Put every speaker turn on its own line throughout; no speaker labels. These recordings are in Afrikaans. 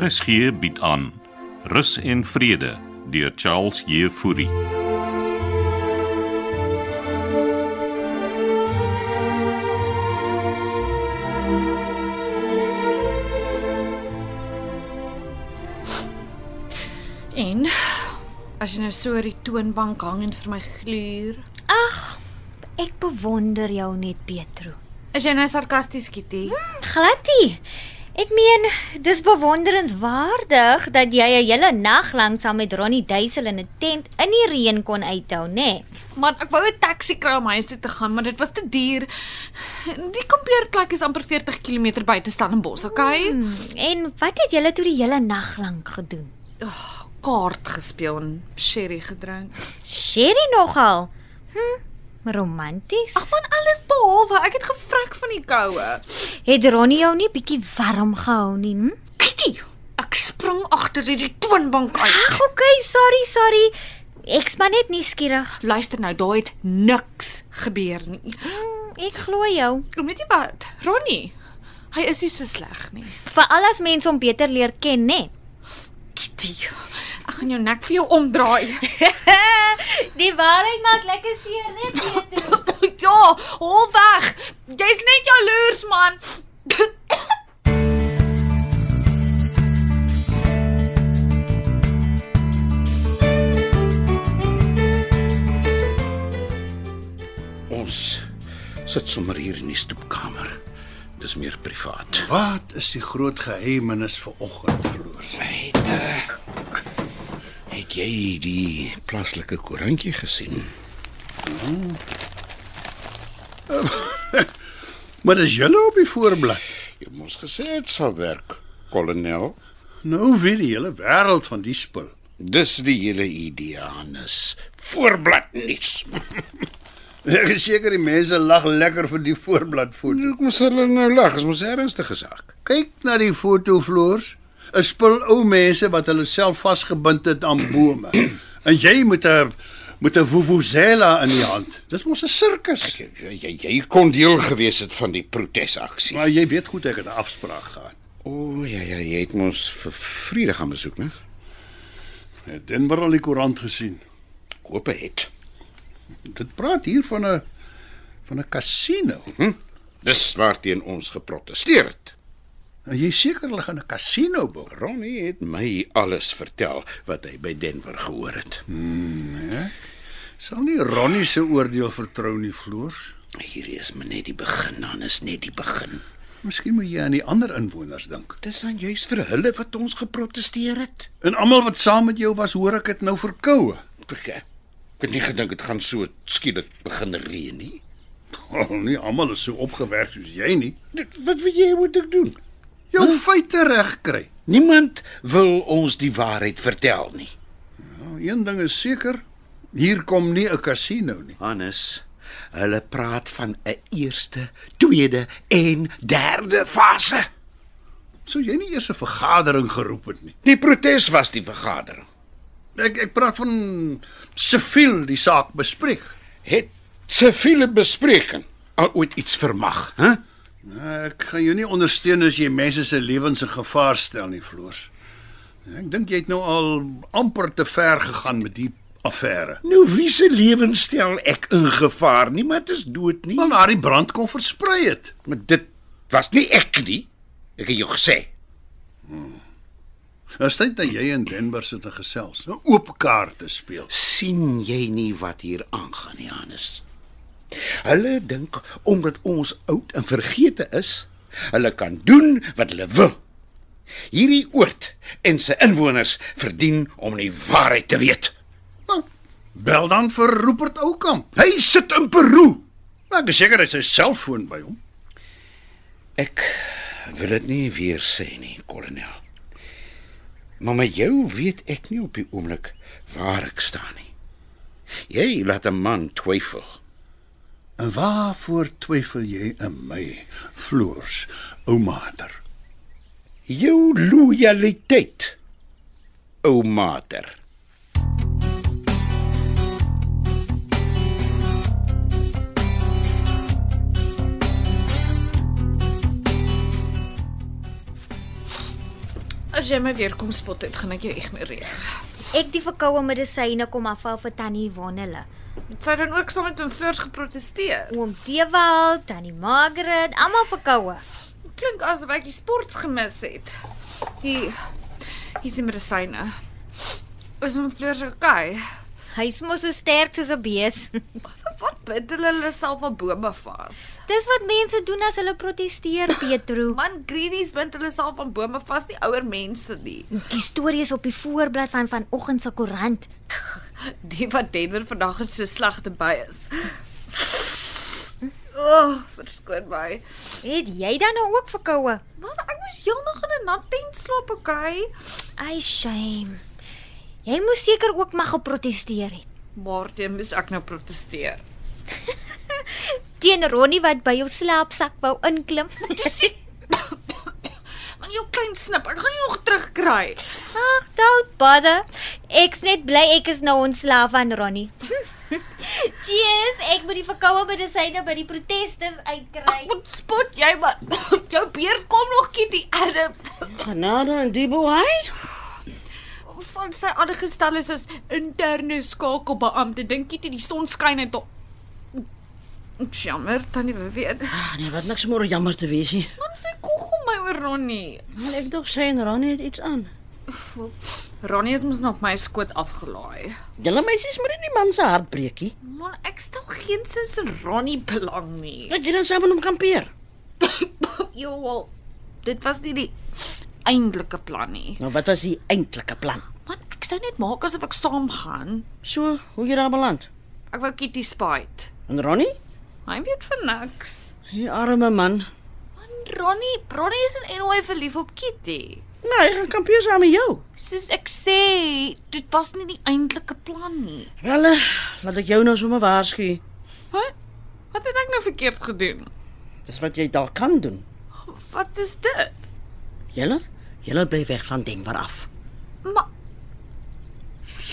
RSG bied aan Rus en Vrede deur Charles Jefouri.
En as jy nou so oor die toonbank hang en vir my gluur,
Ek bewonder jou net, Petro.
is jy nou sarkasties, Kitty?
Gladty. Ek meen, dis bewonderenswaardig dat jy 'n hele nag lank saam met Ronnie Duisel in 'n tent in die reën kon uithou, nê? Nee.
Man, ek wou 'n taxi kry om huis toe te gaan, maar dit was te duur. Die kampeerplek is amper 40 km buite Stellenbosch, okay? Mm.
Hmm, En wat het julle toe die hele nag lank gedoen?
Kaart gespeel en sherry gedrink.
Sherry nogal. Hm, romanties.
Ag man, alles behalwe, ek het gevrek van die koue.
Het Ronnie jou nie bietjie warm gehou nie? Hm?
Kitty, ek spring agter hierdie toonbank uit.
Ag, okay, sorry, sorry. Ek's maar net nuuskierig.
Luister nou, daai het niks gebeur nie.
Hm, ek glo jou.
Kom net jy wat, Ronnie. Hy is nie so sleg nie.
Veral as mense hom beter leer ken, nê?
Kitty, ek gaan jou nek vir jou omdraai.
die waarheid maak lekker seer, né, Pietro?
ja, hol weg. Jy's net jaloers man.
Ons sit sommer hier in die stoepkamer. Dis meer privaat.
Wat is die groot geheimenis vir oggend floors?
Het uh, het jy die plaaslike koerantjie gesien?
Maar dis julle op die voorblad.
Jy moes gesê dit sal werk, kolonel.
Nou weet die hele wêreld van die spul.
Dis die hele idee Hannes. Voorblad nuus.
Ek is seker die mense lag lekker vir die voorblad foto.
Ek moes hulle nou lag, dit moes 'n ernstige saak.
Kyk na die foto floors. 'n Spul ou mense wat hulle self vasgebind het aan bome. En jy moet 'n met 'n vuvuzela in die hand. Dis mos 'n sirkus.
Jy, jy, jy kon deel gewees het van die protesaksie.
Maar jy weet goed ek het 'n afspraak gehad.
O oh, ja ja, jy het mos vir Vrydag gaan besoek, né?
Het Denver al die koerant gesien.
Ek hoop hy het.
Dit praat hier van 'n van 'n kasino.
Hm? Dis waarteen ons geprotesteer het.
En jy is seker hulle gaan 'n kasino bou.
Ronnie het my alles vertel wat hy by Denver gehoor het. Hm.
Sal nie Ronnie se oordeel vertrou nie, Floors.
Hierdie is maar net die begin, dan is net die begin.
Miskien moet jy aan die ander inwoners dink.
Dis dan juis vir hulle wat ons geprotesteer het.
En almal wat saam met jou was, hoor ek het nou verkoue.
Ek ek het nie gedink dit gaan so skielik begin reën nie.
Oh, nie almal is so opgewerk soos jy nie.
Dit, wat wil jy moet ek doen?
Jou huh? feite regkry.
Niemand wil ons die waarheid vertel nie.
Nou, een ding is seker, hier kom nie 'n kasino nie.
Hannes, hulle praat van 'n eerste, tweede en derde fase.
Sou jy nie eers 'n vergadering geroep het nie.
Die protes was die vergadering.
Ek ek praat van siviel die saak bespreek.
Het siviele bespreking al ooit iets vermag, hè?
Nou, Ek gaan jou nie ondersteun as jy mense se lewens in gevaar stel nie, Floors. Ek dink jy het nou al amper te ver gegaan met die affære.
Nou wie se lewens stel ek in gevaar nie, maar dit is dood nie.
Wel na die brand kon versprei het.
Maar dit was nie ek nie. Ek het jou gesê.
Nou sê dit jy in Denver sit en gesels, 'n oop kaart te speel.
sien jy nie wat hier aangaan nie, Hannes? Hulle dink omdat ons oud en vergete is, hulle kan doen wat hulle wil. Hierdie oord en sy inwoners verdien om die waarheid te weet.
Nou, bel dan vir Rupert Oukamp.
Hy sit in Peru.
Nou, ek is seker hy het sy selfoon by hom.
Ek wil dit nie weer sê nie, kolonel. Maar met jou weet ek nie op die oomblik waar ek staan nie. Jy laat 'n man twyfel.
En waarvoor twyfel jy in my, Floors, oumater?
jou lojaliteit o mater
As jy my weer kom spot het, gaan ek jou ignoreer.
Ek die verkoue medisyne kom afval vir tannie Wonderle.
Het sy dan ook saam met Oom Floors geprotesteer?
Oom Dewald, tannie Margaret, almal verkoue.
Klink asof ek die sport gemis het. Hier. Hier is die medisyne. Is Oom Floors okay?
Hy's mos so sterk soos 'n bees.
Wat bid hulle hulle self aan bome vas?
Dis wat mense doen as hulle proteseer, Petro.
Man greenies bind hulle self aan bome vas, nie ouer mense nie.
Die storie is op die voorblad van vanoggend se koerant.
Die wat Denver vandag in so slegte by is. O, oh, verskoon my.
Het jy dan nou ook verkoue?
Maar ek moes heelnag in 'n nat tent slaap, okay?
Ai shame. Jy moes seker ook maar geprotesteer het
Maar teen moes ek nou proteseer.
teen Ronnie wat by jou slaapsak wou inklim.
Man, jou klein snip, ek gaan jou nog terugkry.
Ag, don't bother. Ek's net bly ek is nou ontslaaf van Ronnie. Cheers, ek moet die verkoue medisyne by die protestes uitkry.
Wat spot jy maar? jou beer kom nog kitty erf.
Genade en die boei.
Van sy aangestel is as interne skakelbeampte. Dink jy dit die son skyn uit haar Jammer, tannie Vivian.
Ah, nee, wat niks meer jammer te wees nie.
Mam sê kog om my oor Ronnie.
Maar ek dog sy en Ronnie het iets aan.
Ronnie is mos nog my skoot afgelaai.
Julle meisies moet nie die man se hart breek nie.
Man, ek stel geensins in Ronnie belang nie.
Dat julle saam met hom kampeer.
Jo, wel, dit was nie die eintlike plan nie.
Nou wat was die eintlike plan?
Man, ek sou net maak asof ek saamgaan.
So, hoe jy daar beland?
Ek wou Kitty spite.
En Ronnie?
Hy weet van niks.
Die arme man.
Man, Ronnie, Ronnie is in NOI verlief op Kitty.
Nou, hy gaan kampeer saam met jou.
Soos ek sê, dit was nie die eintlike plan nie.
Wel, eh, laat ek jou nou sommer waarsku.
Wat? Wat het ek nou verkeerd gedoen?
Dis wat jy daar kan doen.
Wat is dit?
Julle, julle bly weg van Denver af.
Maar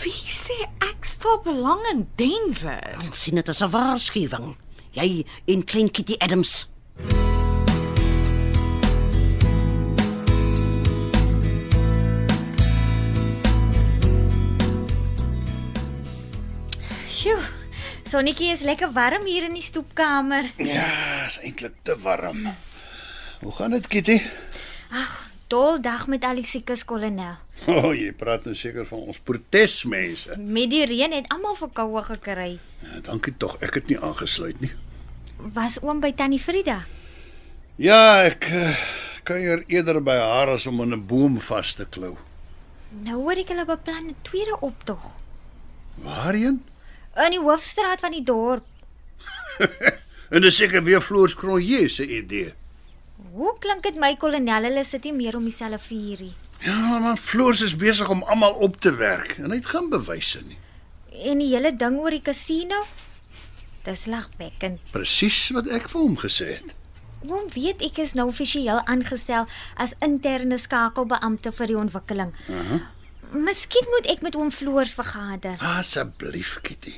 wie sê ek staan belang in Denver?
Ons sien dit as 'n waarskuwing. Jy en klein Kitty Adams.
Sjoe. Sonnetjie is lekker warm hier in die stoepkamer.
Ja, is eintlik te warm. Hoe gaan dit, Kitty?
Dol dag met al die siekes kolonel.
O, oh, jy praat nou seker van ons protesmense.
Met die reën het almal verkoue gekry.
Ja, dankie tog, ek het nie aangesluit nie.
Was oom by tannie Frida?
Ja, ek eh, kuier eerder by haar as om aan 'n boom vas te klou.
Nou hoor ek hulle beplan 'n tweede optog
Waarheen?
in die hoofstraat van die dorp.
En dis seker weer Floors Cronje se idee.
Hoe klink dit my kolonel hulle sit nie meer om dieselfde vuurie
Ja, maar Floors is besig om almal op te werk en hy het geen bewyse nie.
en die hele ding oor die kasino? Dis lagwekkend.
Presies wat ek vir hom gesê het.
Oom weet ek is nou offisieel aangestel as interne skakelbeampte vir die ontwikkeling. Mhm. Uh -huh. Miskien moet ek met oom Floors vergader.
Asseblief, Kitty.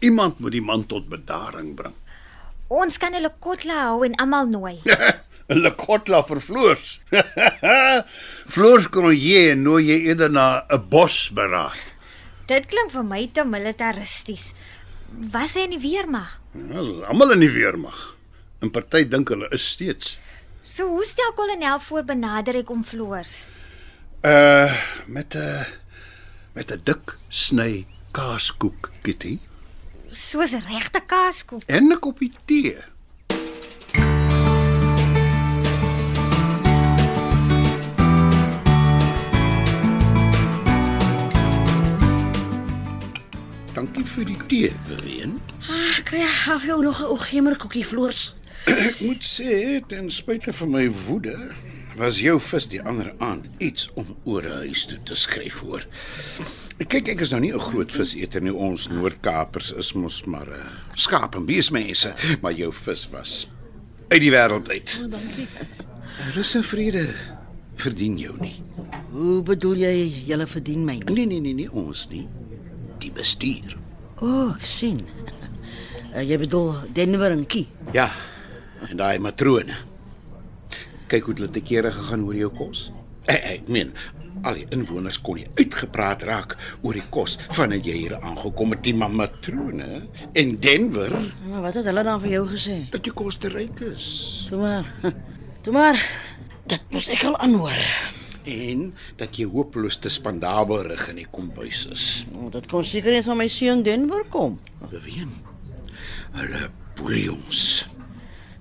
Iemand moet die man tot bedaring bring.
Ons kan hulle kotla hou en almal nooi.
'n Lekotla vir Floors. Floors Cronje nooi jy eerder na 'n bosberaad.
Dit klink vir my te militaristies. Was hy in die weermag?
Ja, ons is almal in die weermag. 'n Party dink hulle is steeds.
So hoe stel kolonel voor benader ek om Floors?
Uh met 'n met 'n dik sny kaaskoek, Kitty,
Soos regte kaaskoek.
en 'n koppie tee. Dankie vir die tee, Vereen.
Ah, kry af jou nog 'n ooghemerkoekie floors.
Ek moet sê, ten spyte van my woede, was jou vis die ander aand iets om oor 'n huis toe te skryf hoor. Kyk, ek is nou nie 'n groot viseter nie. Ons Noord-Kapers is mos maar uh, skaap en beesmense, maar jou vis was uit die wêreld uit. Rus en vrede verdien jou nie.
Hoe bedoel jy julle verdien my? nie?
Nee, nee, nee, nee, ons nie. Die bestuur.
O, oh, ek sien. Uh, jy bedoel Denver en Kie.
Ja. En daai matrone. Kyk hoe dit te kere gegaan oor jou kos.
Ek, ek meen, al die inwoners kon nie uitgepraat raak oor die kos vandat jy hier aangekom het, die mamatrone in Denver
Maar Nou, wat het hulle dan vir jou gesê?
dat jy kos te ryk is
Toe maar. Toe maar. Dit moes ek al aanhoor.
en dat jy hopeloos te spandabelrig in die kombuis is.
Oh, dit kon seker eens van my seun Denver kom.
Beween. Hulle boelie ons.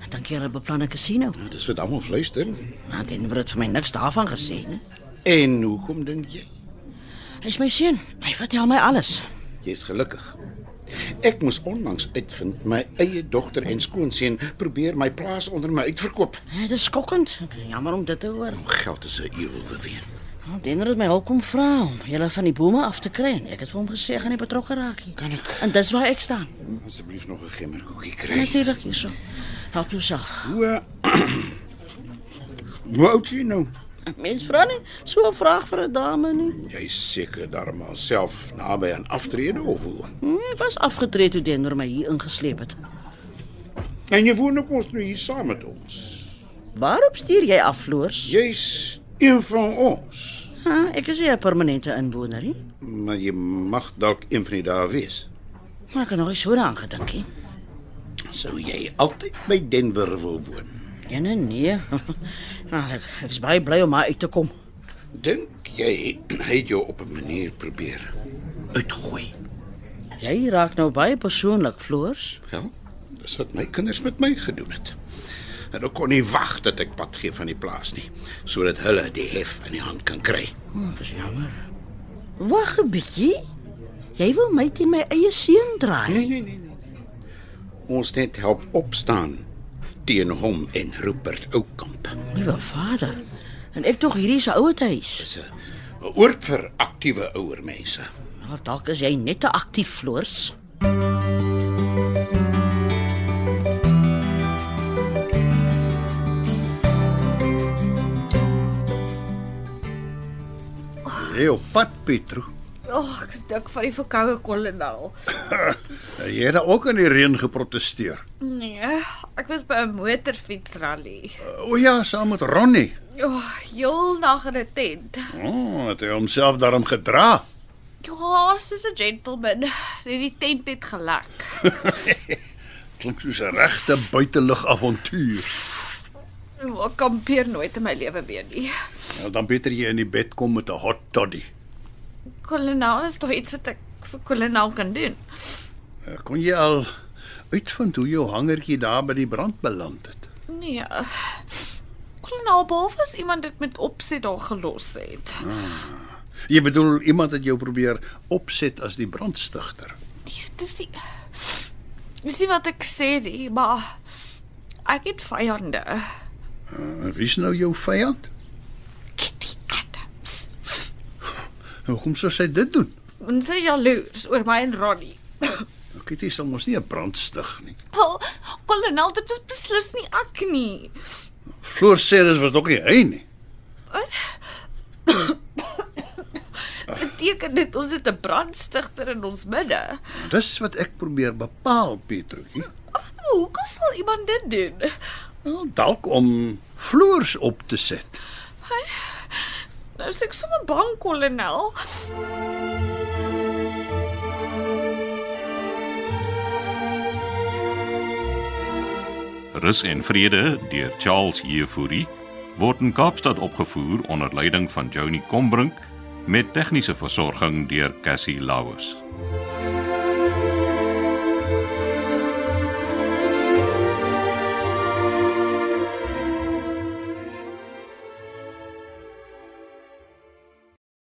Dankie hulle beplan 'n casino.
Nou, dis wat almal fluister.
Maar Denver het vir my niks daarvan gesê nie.
En hoekom dink jy?
Hy's my seun. Hy vertel my alles.
Jy's gelukkig. Ek moes onlangs uitvind my eie dogter en skoonseun probeer my plaas onder my uitverkoop.
Dit is skokkend. Ek is Jammer om dit te hoor.
Geld is 'n ewel beween.
Nou, Denver het my hulp kom vra om julle van die bome af te kry en ek het vir hom gesê ek gaan nie betrokke raak nie.
Kan ek- Nee.
En dis waar ek staan.
Asseblief nog 'n gemmerkoekie kry.
Natuurlik hierso. Help jouself.
Hoe eh, Hoe oud is jy nou?
Mens vra nie so 'n vraag vir 'n dame nie.
Jy's seker darmal self naby aan aftrede of hoe?
Hm, Ek was afgetree toe Denver my hier ingesleep het.
En jy woon ook mos nou hier saam met ons.
Waarop stuur jy af, Floors?
Jy's een van ons.
Ha, ek is nie 'n permanente inwoner nie.
Maar jy mag dalk een van die dae wees.
Maar ek het nog nie so daaraan gedink nie.
Sou jy altyd by Denver wil woon?
Ja nee. nee. Nou, ek ek is baie bly om maar uit te kom.
Dink jy hy het jou op 'n manier probeer uitgooi?
Jy raak nou baie persoonlik, Floors.
Wel, dis wat my kinders met my gedoen het. En ek kon nie wag dat ek pad gee van die plaas nie, sodat hulle die hef in die hand kan kry.
Oh, ek is jammer. Wag 'n bietjie. Jy wil my teen my eie seun draai.
Nee, nee, nee, nee. Ons net help opstaan teen hom en Rupert Oukamp.
Liewe vader. En ek tog hierdie se ouer huis.
Dis 'n 'n oord vir aktiewe ouer mense.
Nou dalk is jy net te aktief, Floors.
Jy op pad, Pietro.
O, oh, ek is dik van die verkoue kolonel.
Jy het ook in die reën geprotesteer.
Nee, ek was by 'n motorfietsrally.
O ja, saam met Ronnie.
O, oh, heel nag in 'n tent.
O, oh, het hy homself daarom gedra.
Ja, soos 'n gentleman. Hierdie tent het gelek.
Klink soos 'n regte buitelug avontuur.
Ek kampeer nooit in my lewe weer nie.
Nou dan beter jy in die bed kom met 'n hot toddy.
Kolonel is tog iets wat ek vir kolonel kan doen.
Eh, Kon jy al uitvind hoe jou hangertjie daar by die brand beland het?
Nee. Kolonel Bof is iemand dit met opset daar gelos het.
Jy bedoel iemand het jou probeer opset as die brandstigter.
Nee, dis die Dis nie wat ek sê nie, maar ek het vyande.
En wie's nou jou vyand?
Kitty Adams.
Hoekom sou sy dit doen?
En sy is jaloers oor my en Ronnie.
Nou, Kitty sal mos nie 'n brand stig nie.
Oh, kolonel, dit was beslis nie ek nie.
Floor sê dit was ook nie hy nie.
Beteken dit ons het 'n brandstigter in ons midde?
Dis wat ek probeer bepaal, Pietroetjie.
Maar hoekom Nou, sal iemand dit doen?
Wel, dalk om floors op te sit.
Nou is ek sommer bang, kolonel.
Rus en Vrede deur Charles Jefouri word in Kaapstad opgevoer onder leiding van Johnny Combrink met tegniese versorging deur Cassie Lauers.